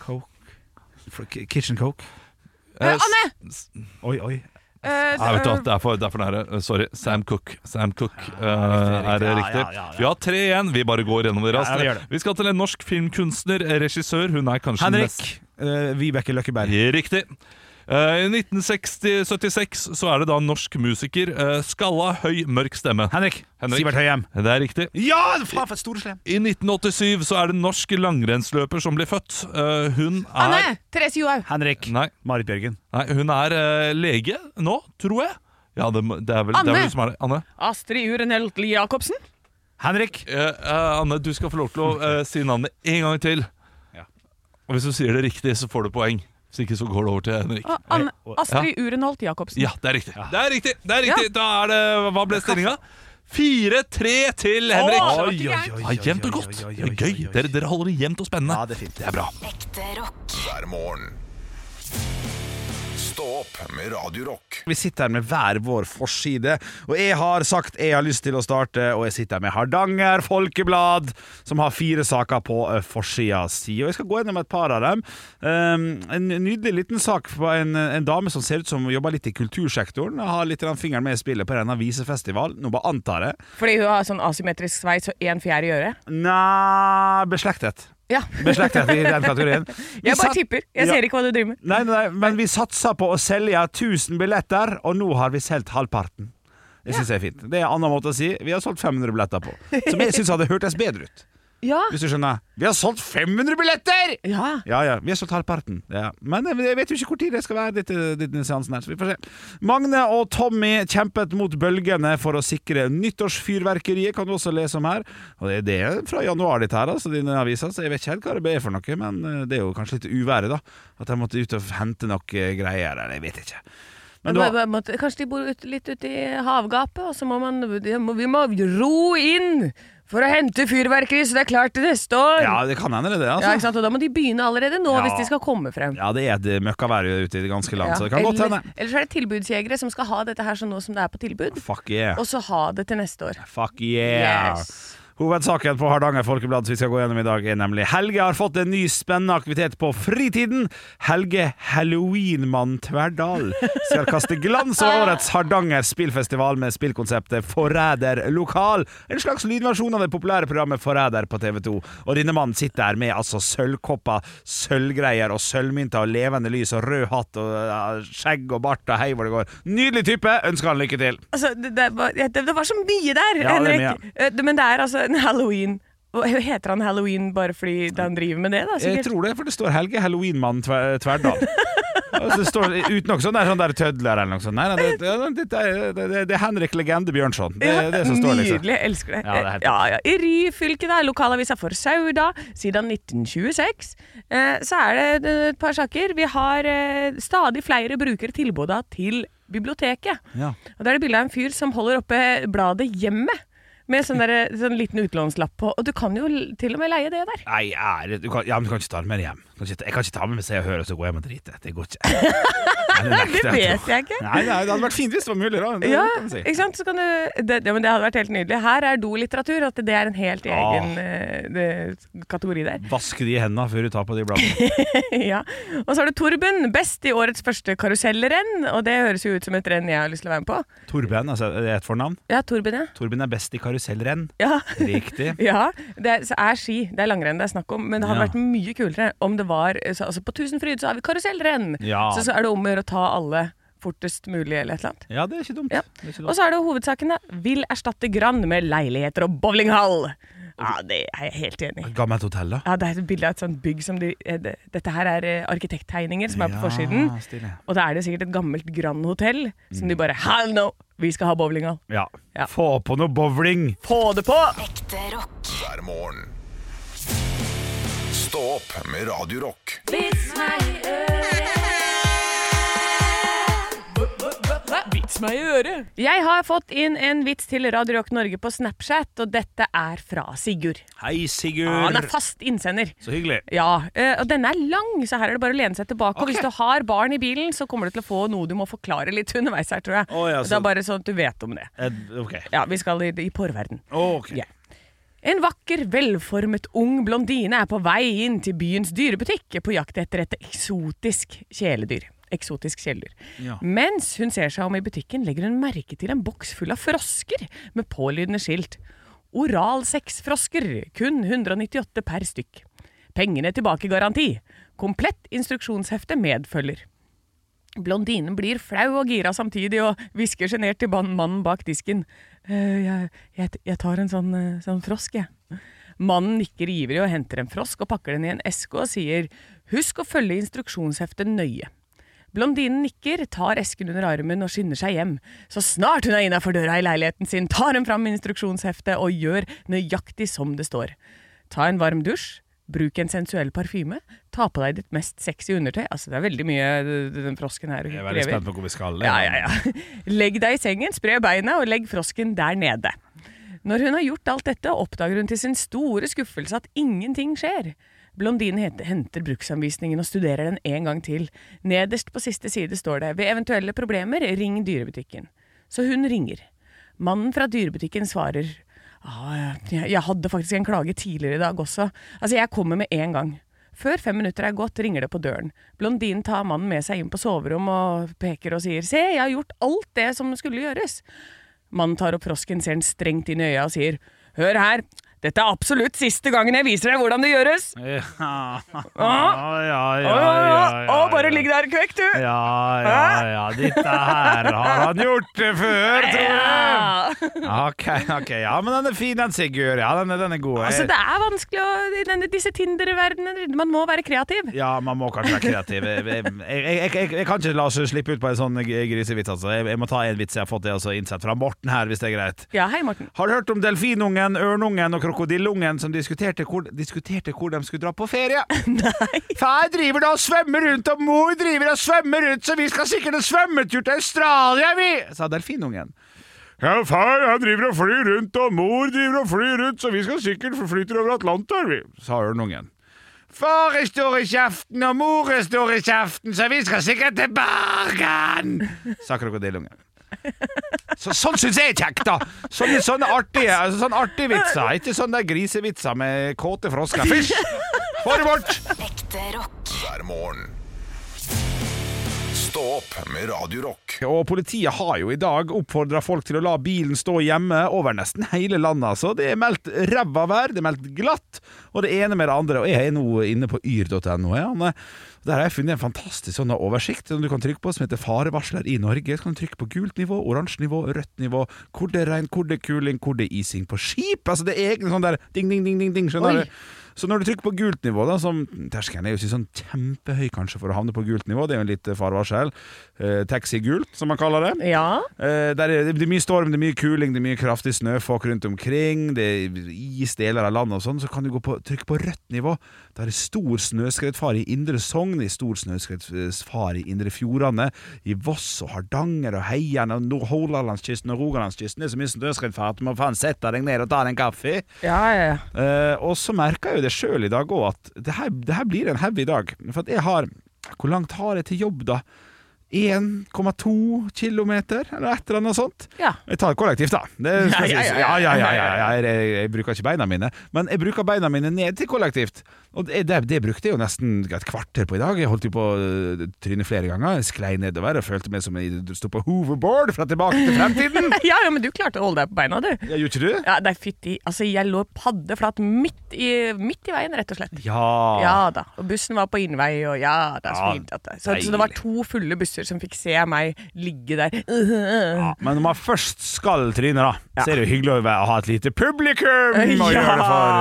S2: Coke For- ki- Kitchen Coke.
S5: Eh,
S6: Anne!
S5: s-
S2: Oi, oi.
S6: Eh,
S5: Nei, vet du hva, det er for, det er for nære. Eh, Sorry. Sam Cook. Sam Cook eh,
S2: riktig,
S5: er det
S2: riktig.
S5: riktig?
S2: Ja, ja, ja, ja.
S5: Vi har tre igjen. Vi bare går gjennom det
S2: Ja,
S5: raskt.
S2: vi gjør det.
S5: vi skal til en norsk filmkunstner, eh, regissør. Hun er kanskje nest-
S2: Henrik. eh, Vibeke Løkkeberg.
S5: Riktig. Eh, I 1976 så er det da en norsk musiker. eh, skalla, høy, mørk stemme.
S2: Henrik.
S5: Henrik.
S2: Sivert Høyem.
S5: Det er riktig.
S2: Ja, faen for et storeslem!
S5: I 1987 så er det en norsk langrennsløper som blir født. Eh, hun er
S6: Anne! Therese Johaug.
S2: Henrik.
S5: Nei,
S2: Marit Bjørgen.
S5: nei hun er eh, lege nå, tror jeg. Ja, det, må- det er vel det er
S6: Anne!
S5: vel du som er det. Anne.
S3: Astrid Urenelt Jacobsen.
S2: Henrik.
S5: Eh, eh, Anne, du skal få lov til å eh, si navnet en gang til.
S2: Ja.
S5: Og hvis du sier det riktig, så får du poeng. Hvis ikke så går det over til Henrik.
S3: Og Anne, Astrid Urenholt Jacobsen.
S5: Ja, det er riktig. Det er riktig, det er riktig. Da er det Hva ble stillinga? 4-3 til Henrik.
S2: Oi,
S5: Oi,
S2: oi, oi,
S5: Ja, jevnt og
S2: oi,
S5: godt.
S2: oi, oi,
S5: Det
S2: oi,
S5: er gøy.
S2: oi, oi.
S5: Dere, dere holder det jevnt og spennende.
S2: Ja, det er fint.
S5: Det er bra.
S4: Ekte rock.
S1: hver morgen. Stå opp med Radio Rock.
S2: Vi sitter her med hver vår forside, og jeg har sagt jeg har lyst til å starte, og jeg sitter her med Hardanger Folkeblad, som har fire saker på eh, forsida si. Og jeg skal gå gjennom et par av dem. Um, en nydelig liten sak fra en, en dame som ser ut som jobber litt i kultursektoren. og Har litt grann fingeren med i spillet på en avisefestival. Nå bare antar jeg.
S3: Fordi hun har sånn asymmetrisk sveis og én fjær i øret.
S2: Nei, beslektet.
S3: Ja.
S2: Beslektet i den kategorien. Vi
S3: Jeg bare
S2: satt-
S3: tipper. Jeg
S2: Ja.
S3: ser ikke hva du driver med.
S2: Nei, nei, men vi satsa på å selge 1000 billetter, og nå har vi solgt halvparten. Det syns jeg er fint. Det er en annen måte å si vi har solgt 500 billetter på. Som jeg syns hadde hørtes bedre ut.
S3: Ja.
S2: Hvis du skjønner. Vi har solgt 500 billetter!
S3: ja.
S2: Ja, ja, vi har solgt halvparten. Ja. Men jeg vet jo ikke hvor tid det skal være, dette, denne seansen her, så vi får se. Magne og Tommy kjempet mot bølgene for å sikre nyttårsfyrverkeriet, kan du også lese om her. Og det, det er fra januar ditt her, altså, denne avisa, så jeg vet ikke helt hva det ble for noe, men eh, det er jo kanskje litt uværet, da. At de måtte ut og hente noe greier, eller jeg vet ikke. Men da,
S3: Bare- bare måtte- kanskje de bor ut, litt ute i havgapet, og så må man de må, Vi må ro inn for å hente fyrverkeri, så det er klart til neste år!
S2: ja, det kan hende det, det,
S3: Ja, ikke
S2: altså.
S3: sant? Og da må de begynne allerede nå,
S2: Ja.
S3: hvis de skal komme frem.
S2: Ja, det er et møkkavær ute i det ganske land,
S3: Ja.
S2: så det kan godt
S3: Eller-
S2: hende.
S3: Eller så er det tilbudsjegere som skal ha dette her sånn nå som det er på tilbud,
S2: Fuck yeah.
S3: og så ha det til neste år.
S2: Fuck yeah.
S3: Yes.
S2: Hovedsaken på Hardanger Folkeblad som vi skal gå gjennom i dag, er nemlig Helge har fått en ny spennende aktivitet på fritiden. Helge Halloweenmann Tverdal skal kaste glans over årets Hardanger spillfestival med spillkonseptet Forræder lokal. En slags lydversjon av det populære programmet Forræder på TV 2. Og denne mannen sitter her med altså sølvkopper, sølvgreier og sølvmynter og levende lys og rød hatt og ja, skjegg og bart og hei hvor det går. Nydelig type! Ønsker han lykke til.
S3: Altså, det, det, var, ja, det, det var så mye der,
S2: Ja, det er
S3: Henrik!
S2: mye.
S3: Eh, det- Men det er altså en halloween Hva- Heter han halloween bare fordi han driver med det, da?
S2: Jeg
S3: Sikkert.
S2: tror det, for det står Helge Halloweenmann tver, Tverdal. Altså, det står uten noe sånn der, sånn der tødler eller noe sånt. Nei, nei, det, det, det, det, det, det er Henrik Legende Bjørnson. Det er det som står, liksom.
S3: Nydelig, jeg elsker det.
S2: Ja, det er helt
S3: ja, ja. I Ryfylke, da, lokalavisa for Sauda, siden 1926, eh, så er det et par saker. Vi har eh, stadig flere bruker tilbudet til biblioteket.
S2: Ja.
S3: Og Da er det bilde av en fyr som holder oppe bladet Hjemmet. Med sånn, derre- sånn liten utlånslapp på. Og du kan jo l- til og med leie det der.
S2: Nei, ære du kan, ja, men du kan ikke ta det med hjem. Du Kan ikke, ta- jeg kan ikke ta med meg Se og Hør og så gå hjem og drite. Det går ikke. Nei, nekter
S3: Det
S2: jeg å
S3: vet
S2: tro.
S3: jeg ikke.
S2: Nei, nei, det hadde vært fint hvis det var mulig, da. Det,
S3: Ja,
S2: kan vi si.
S3: ikke sant? Så kan du, det, ja, men det hadde vært helt nydelig. Her er dolitteratur. At det er en helt
S2: Ah.
S3: egen eh, det- kategori der.
S2: Vask de hendene før du tar på de bladene.
S3: ja. Og så er det Torben, best i årets første karusellrenn. Og det høres jo ut som et renn jeg har lyst til å være med på.
S2: Torben, altså, er det et fornavn?
S3: Ja, Torben, ja.
S2: Torben er best i karusellrenn.
S3: Ja,
S2: Riktig.
S3: ja det er, så er ski. Det er langrenn det er snakk om. Men det hadde
S2: Ja.
S3: vært mye kulere om det var så, altså På Tusenfryd så har vi karusellrenn.
S2: Ja.
S3: Så, så er det om å gjøre å ta alle fortest mulig, eller et eller annet.
S2: Ja, det er ikke dumt.
S3: Ja.
S2: Det er ikke
S3: Og
S2: dumt.
S3: så er det hovedsaken, da. Vil erstatte Grand med leiligheter og bowlinghall. Ja, det er jeg helt enig i.
S2: Gammelt hotell, da.
S3: Ja, det er et bilde av et sånt bygg som de eh, det- Dette her er eh, arkitekttegninger som er på
S2: Ja,
S3: forsiden.
S2: stilig.
S3: Og da er det sikkert et gammelt Grand Hotell som
S2: Mm.
S3: de bare Hell no! Vi skal ha bowlinghall.
S2: Ja.
S3: Ja.
S2: Få på noe bowling.
S3: Få det på!
S4: Ekte rock.
S1: hver morgen. Stå opp med Radio Rock.
S3: Vits meg i øret. Jeg har fått inn en vits til Radio Rock Norge på Snapchat, og dette er fra Sigurd.
S2: Hei, Sigurd.
S3: Ja, han er fast innsender.
S2: Så hyggelig.
S3: Ja, eh, og denne er lang, så her er det bare å lene seg tilbake. Og
S2: Ok.
S3: hvis du har barn i bilen, så kommer du til å få noe du må forklare litt underveis her, tror jeg.
S2: Å, ja,
S3: Det
S2: så-
S3: er bare sånn at du vet om det.
S2: Eh, ok.
S3: Ja, vi skal i, i porverden.
S2: Ok.
S3: Ja. En vakker, velformet ung blondine er på vei inn til byens dyrebutikk på jakt etter et eksotisk kjæledyr. Eksotisk kjæledyr.
S2: Ja.
S3: Mens hun ser seg om i butikken, legger hun merke til en boks full av frosker med pålydende skilt. Oralsexfrosker, kun 198 per stykk. Pengene tilbake-garanti. Komplett instruksjonshefte medfølger. Blondinen blir flau og gira samtidig og hvisker sjenert til ban- mannen bak disken. «Eh, Jeg, jeg, t- jeg tar en sånn, eh, sånn frosk, jeg. Mannen nikker ivrig og henter en frosk og pakker den i en eske og sier husk å følge instruksjonsheftet nøye. Blondinen nikker, tar esken under armen og skynder seg hjem. Så snart hun er innafor døra i leiligheten sin, tar hun fram instruksjonsheftet og gjør nøyaktig som det står. Ta en varm dusj, bruk en sensuell parfyme, ta på deg ditt mest sexy undertøy. Altså, det er veldig mye eh, den frosken her
S2: Jeg er veldig
S3: krever.
S2: spent på hvor vi skal.
S3: Ja, ja, ja. Legg deg i sengen, spre beina og legg frosken der nede. Når hun har gjort alt dette, oppdager hun til sin store skuffelse at ingenting skjer. Blondinen het- henter bruksanvisningen og studerer den en gang til. Nederst på siste side står det 'Ved eventuelle problemer, ring dyrebutikken'. Så hun ringer. Mannen fra dyrebutikken svarer «Ah, jeg, 'Jeg hadde faktisk en klage tidligere i dag også. Altså, jeg kommer med en gang'. Før fem minutter er gått, ringer det på døren. Blondinen tar mannen med seg inn på soverom og peker og sier 'Se, jeg har gjort alt det som skulle gjøres'. Mannen tar opp frosken, ser den strengt inn i øya og sier Hør her, dette er absolutt siste gangen jeg viser deg hvordan det gjøres.
S2: Ja,
S3: Ah.
S2: ja, ja,
S3: Å,
S2: ja, ja,
S3: bare
S2: ja.
S3: ligg der Ah! kvekk, du.
S2: Ja, ja, ja. Dette her har han gjort det før, tror jeg. Ok, ok, ja, men den er fin, den Sigurd. Ja, den, er- den er god.
S3: Altså, det er vanskelig å, i denne, disse Tinder-verdenene. Man må være kreativ.
S2: Ja, man må kanskje være kreativ. Jeg, jeg, jeg, jeg, jeg kan ikke la oss slippe ut på en sånn g- grisevits, altså. Jeg, jeg må ta en vits jeg har fått det altså innsett fra Morten her, hvis det er greit.
S3: Ja, hei, Morten.
S2: Har du hørt om delfinungen, ørnungen og krokodillungen som diskuterte hvor, diskuterte hvor de skulle dra på ferie? Nei. Far driver da og svømmer rundt, og mor driver og svømmer rundt, så vi skal sikkert en svømmetur til Australia, vi! sa delfinungen. Ja, far han driver og flyr rundt, og mor driver og flyr rundt, så vi skal sikkert flyte over Atlanteren, vi, sa ørnungen. Far står i kjeften, og mor står i kjeften, så vi skal sikkert til Bergen! sa krokodillungen. Så, sånn syns jeg er kjekt, da! Sånne, sånne artige altså, sånne artige vitser. Ikke sånne der grisevitser med kåte frosker. Fysj! Få det bort!
S4: Ekte rock.
S1: hver morgen. Stå opp med Radio Rock.
S2: Og politiet har jo i dag oppfordra folk til å la bilen stå hjemme over nesten hele landet. Altså. Det er meldt ræva vær, det er meldt glatt, og det ene med det andre. Og jeg er nå inne på yr.no. jeg, Anne. Der har jeg funnet en fantastisk sånn oversikt som du kan trykke på, som heter Farevarsler i Norge. Så kan du trykke på gult nivå, oransje nivå, rødt nivå, hvor det er regn, hvor det er kuling, hvor det er ising på skip. Altså det er egne sånn der ding, ding, ding, ding, ding skjønner
S3: Oi.
S2: du? Så når du trykker på gult nivå, da, som terskelen er jo ikke sånn kjempehøy kanskje for å havne på gult nivå, det er jo en litt farevarsel, eh, taxi-gult som man kaller det.
S3: Ja.
S2: Eh, der er, det er mye storm, det er mye kuling, det er mye kraftig snøfokk rundt omkring, det er is deler av landet og sånn, så kan du gå på, trykke på rødt nivå. Der er stor snøskredfare i Indre Sogn, det er stor snøskredfare i Indre Fjordane, i Voss og Hardanger og Heiane og Nord- Hordalandskysten og Rogalandskysten. Det er så mye snøskredfare at du må faen sette deg ned og ta deg en kaffe.
S3: Ja, ja, ja.
S2: Eh, og så merka jeg jo det sjøl i dag òg, at det her, det her blir en heavy dag. For at jeg har Hvor langt har jeg til jobb, da? 1,2 kilometer, eller et eller annet sånt?
S3: Ja.
S2: Jeg tar kollektivt, da. Det skal
S3: Ja, ja,
S2: sies.
S3: ja,
S2: Ja, ja,
S3: ja.
S2: ja, ja, ja. Jeg, jeg, jeg bruker ikke beina mine, men jeg bruker beina mine ned til kollektivt. Og det, det, det brukte jeg jo nesten et kvarter på i dag. Jeg holdt jo på å øh, tryne flere ganger. Jeg sklei nedover og følte meg som jeg sto på hoverboard fra tilbake til fremtiden.
S3: ja, ja, men du klarte å holde deg på beina, du.
S2: Ja, Gjorde ikke du?
S3: Ja, nei, fytti. Altså, jeg lå paddeflat midt i, midt i veien, rett og slett. Ja da. Og bussen var på innvei, og ja da. Så,
S2: Ja,
S3: fint at det. Så, så det var to fulle busser som fikk se meg ligge der. Uh-huh.
S2: Ja, men når man først skal tryne, da, så er det jo hyggelig å være- å ha et lite publikum å
S3: Ja.
S2: gjøre det for.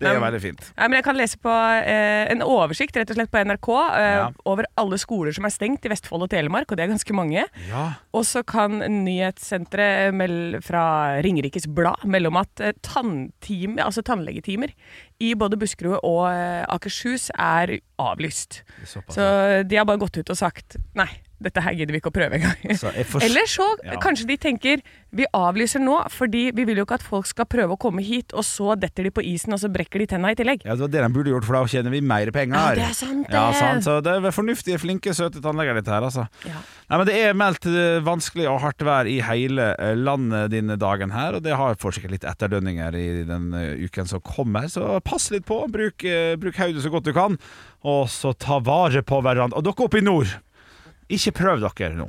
S2: Det er jo
S3: Men-
S2: veldig fint.
S3: Nei, men jeg kan lese på eh, en oversikt rett og slett på NRK eh,
S2: Ja.
S3: over alle skoler som er stengt i Vestfold og Telemark, og det er ganske mange.
S2: Ja.
S3: Og så kan nyhetssenteret eh, mel- fra Ringerikes Blad melde om at eh, tanntime, altså tannlegetimer i både Buskerud og eh, Akershus er avlyst.
S2: Det er såpass,
S3: Så de har bare gått ut og sagt nei, dette her gidder vi ikke å prøve engang.
S2: Så Altså, jeg forst-
S3: Eller så
S2: Ja.
S3: kanskje de tenker vi avlyser nå, fordi vi vil jo ikke at folk skal prøve å komme hit, og så detter de på isen, og så brekker de tenna i tillegg.
S2: Ja, Det var det de burde gjort, for da tjener vi mer penger.
S3: Ja, det er sant, det.
S2: Ja, sant, så det er fornuftige, flinke, søte tannleger, dette her, altså.
S3: Ja.
S2: Nei, men Det er meldt eh, vanskelig og hardt vær i hele eh, landet denne dagen her, og det har får sikkert litt etterdønninger i den eh, uken som kommer, så pass litt på. Bruk, eh, bruk hodet så godt du kan, og så ta vare på hverandre. Og dere oppe i nord! Ikke prøv dere nå.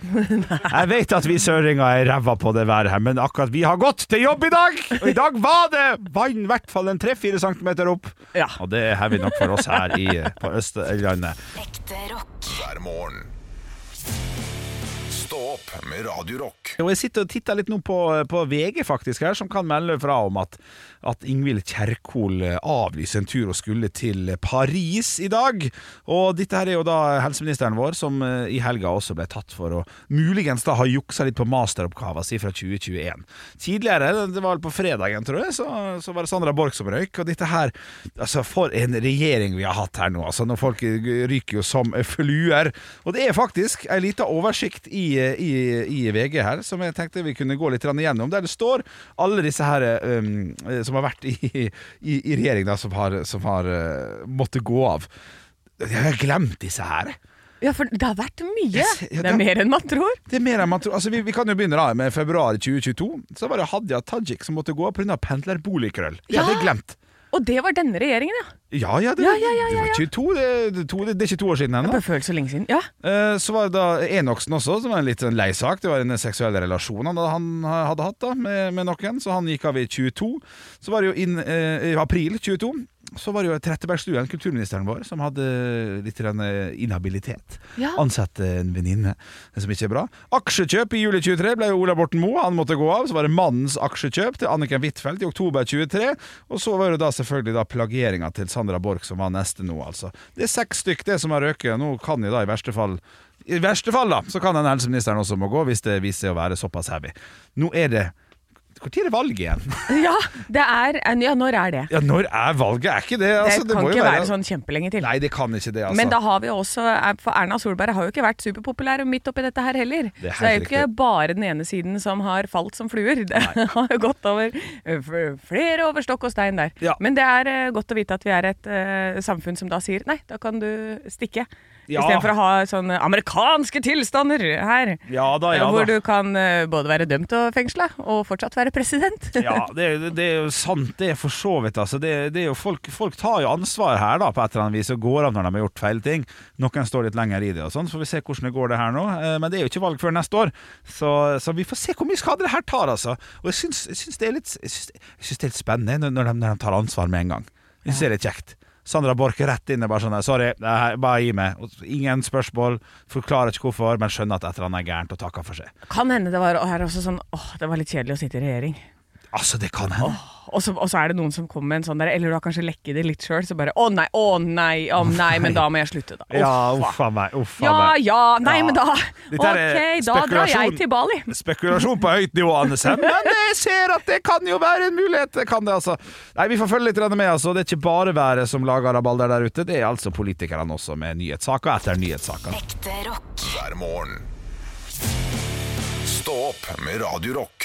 S2: Jeg vet at vi søringer er ræva på det været her, men akkurat vi har gått til jobb i dag! Og i dag var det vann i hvert fall en tre-fire centimeter opp.
S3: Ja.
S2: Og det er heavy nok for oss her i, eh, på Østlandet.
S4: Ekte rock.
S1: hver morgen. Stå opp med Radio Rock.
S2: Og jeg sitter og titter litt nå på, på VG faktisk her, som kan melde fra om at, at Ingvild Kjerkol eh, avlyser en tur og skulle til Paris i dag. Og dette her er jo da helseministeren vår, som eh, i helga også ble tatt for å muligens da ha juksa litt på masteroppgava si fra 2021. Tidligere, det var vel på fredagen, tror jeg, så, så var det Sandra Borch som røyk. Og dette her, altså for en regjering vi har hatt her nå, altså. Når folk ryker jo som fluer. Og det er faktisk ei lita oversikt i, i, i VG her som jeg tenkte vi kunne gå litt grann igjennom, der det står alle disse her um, som har vært i, i, i regjering, da, som har, som har uh, måttet gå av. Jeg har glemt disse her.
S3: Ja, for det har vært mye.
S2: Yes, ja,
S3: det er
S2: da-
S3: mer enn man tror.
S2: Det er mer enn man tror. Altså, vi, vi kan jo begynne da med februar 2022. Så var det Hadia Tajik som måtte gå av pga. pendlerboligkrøll. Det hadde jeg
S3: Ja.
S2: glemt.
S3: Og det var denne regjeringen, ja.
S2: Ja, ja, det,
S3: Ja, ja, ja,
S2: det var
S3: ja, ja.
S2: 22, det, det, to, det, det er ikke to år siden ennå.
S3: Bare føles så lenge siden. Ja.
S2: Eh, Så var det da Enoksen også, som var en litt sånn lei sak. Det var en seksuell relasjon han, han hadde hatt da med, med noen, så han gikk av i 22. Så var det jo inn eh, i april 22. Så var det jo Trettebergstuen, kulturministeren vår, som hadde litt grann, eh, inhabilitet.
S3: Ja.
S2: Ansatte eh, en venninne, som ikke er bra. Aksjekjøp i juli 23 ble jo Ola Borten Moe, han måtte gå av. Så var det mannens aksjekjøp til Anniken Huitfeldt i oktober 23. Og så var det da selvfølgelig da plagieringa til Sandra Borch som var neste nå, altså. Det er seks stykk det som har røket. Nå kan jo da i verste fall I verste fall, da, så kan den helseministeren også må gå, hvis det viser seg å være såpass heavy. Nå er det Når er det valg igjen?
S3: ja, det er Ja, når er det?
S2: Ja, når er valget? Er ikke det?
S3: Det
S2: Altså,
S3: kan
S2: må jo
S3: ikke være sånn kjempelenge til.
S2: Nei, det kan ikke det, altså.
S3: Men da har vi også, for Erna Solberg har jo ikke vært superpopulær midt oppi dette her heller.
S2: Det er
S3: så det er jo
S2: helt
S3: ikke
S2: riktig.
S3: bare den ene siden som har falt som fluer. Det har jo gått over f- flere over stokk og stein der.
S2: Ja.
S3: Men det er eh, godt å vite at vi er et eh, samfunn som da sier nei, da kan du stikke.
S2: Ja.
S3: Istedenfor å ha sånne amerikanske tilstander her.
S2: Ja da, ja
S3: eh, hvor
S2: da.
S3: du kan eh, både være dømt og fengsla, og fortsatt være president.
S2: Ja, det, er- det er jo sant, det er for så vidt. Altså. Det, det er jo folk, folk tar jo ansvar her, da, på et eller annet vis, og går av når de har gjort feil ting. Noen står litt lenger i det, og sånn, så får vi se hvordan det går det her nå. Eh, Men det er jo ikke valg før neste år, så, så vi får se hvor mye skade det her tar, altså. Og jeg syns, jeg syns det er litt jeg syns, jeg syns det er litt spennende når- når de, når de tar ansvar med en gang. Jeg syns det er litt kjekt. Sandra Borch er rett inne bare sånn der, Sorry, det her, bare gi meg. Og Ingen spørsmål. Forklarer ikke hvorfor, men skjønner at et eller annet er gærent, og takker for seg.
S3: Kan hende det var, og her er også sånn, åh, det var litt kjedelig å sitte i regjering.
S2: Altså, det kan hende.
S3: Og så, og så er det noen som kommer med en sånn der, eller du har kanskje lekket det litt sjøl, så bare å nei, å nei, å nei, men da må jeg slutte, da.
S2: Ja,
S3: Uff,
S2: uff a meg. Uff a
S3: ja,
S2: meg.
S3: ja, nei,
S2: Ja.
S3: men da
S2: Dette her
S3: Ok,
S2: er eh,
S3: da drar jeg
S2: spekulasjon.
S3: til Bali.
S2: Spekulasjon på høyt nivå, Annesem, men jeg ser at det kan jo være en mulighet. Det kan det, altså. Nei, Vi får følge litt grann med. altså. Det er ikke bare været som lager rabalder der ute, det er altså politikerne også, med nyhetssaker etter nyhetssaker.
S4: Ekte rock.
S1: hver morgen. Stå opp med Radio Rock.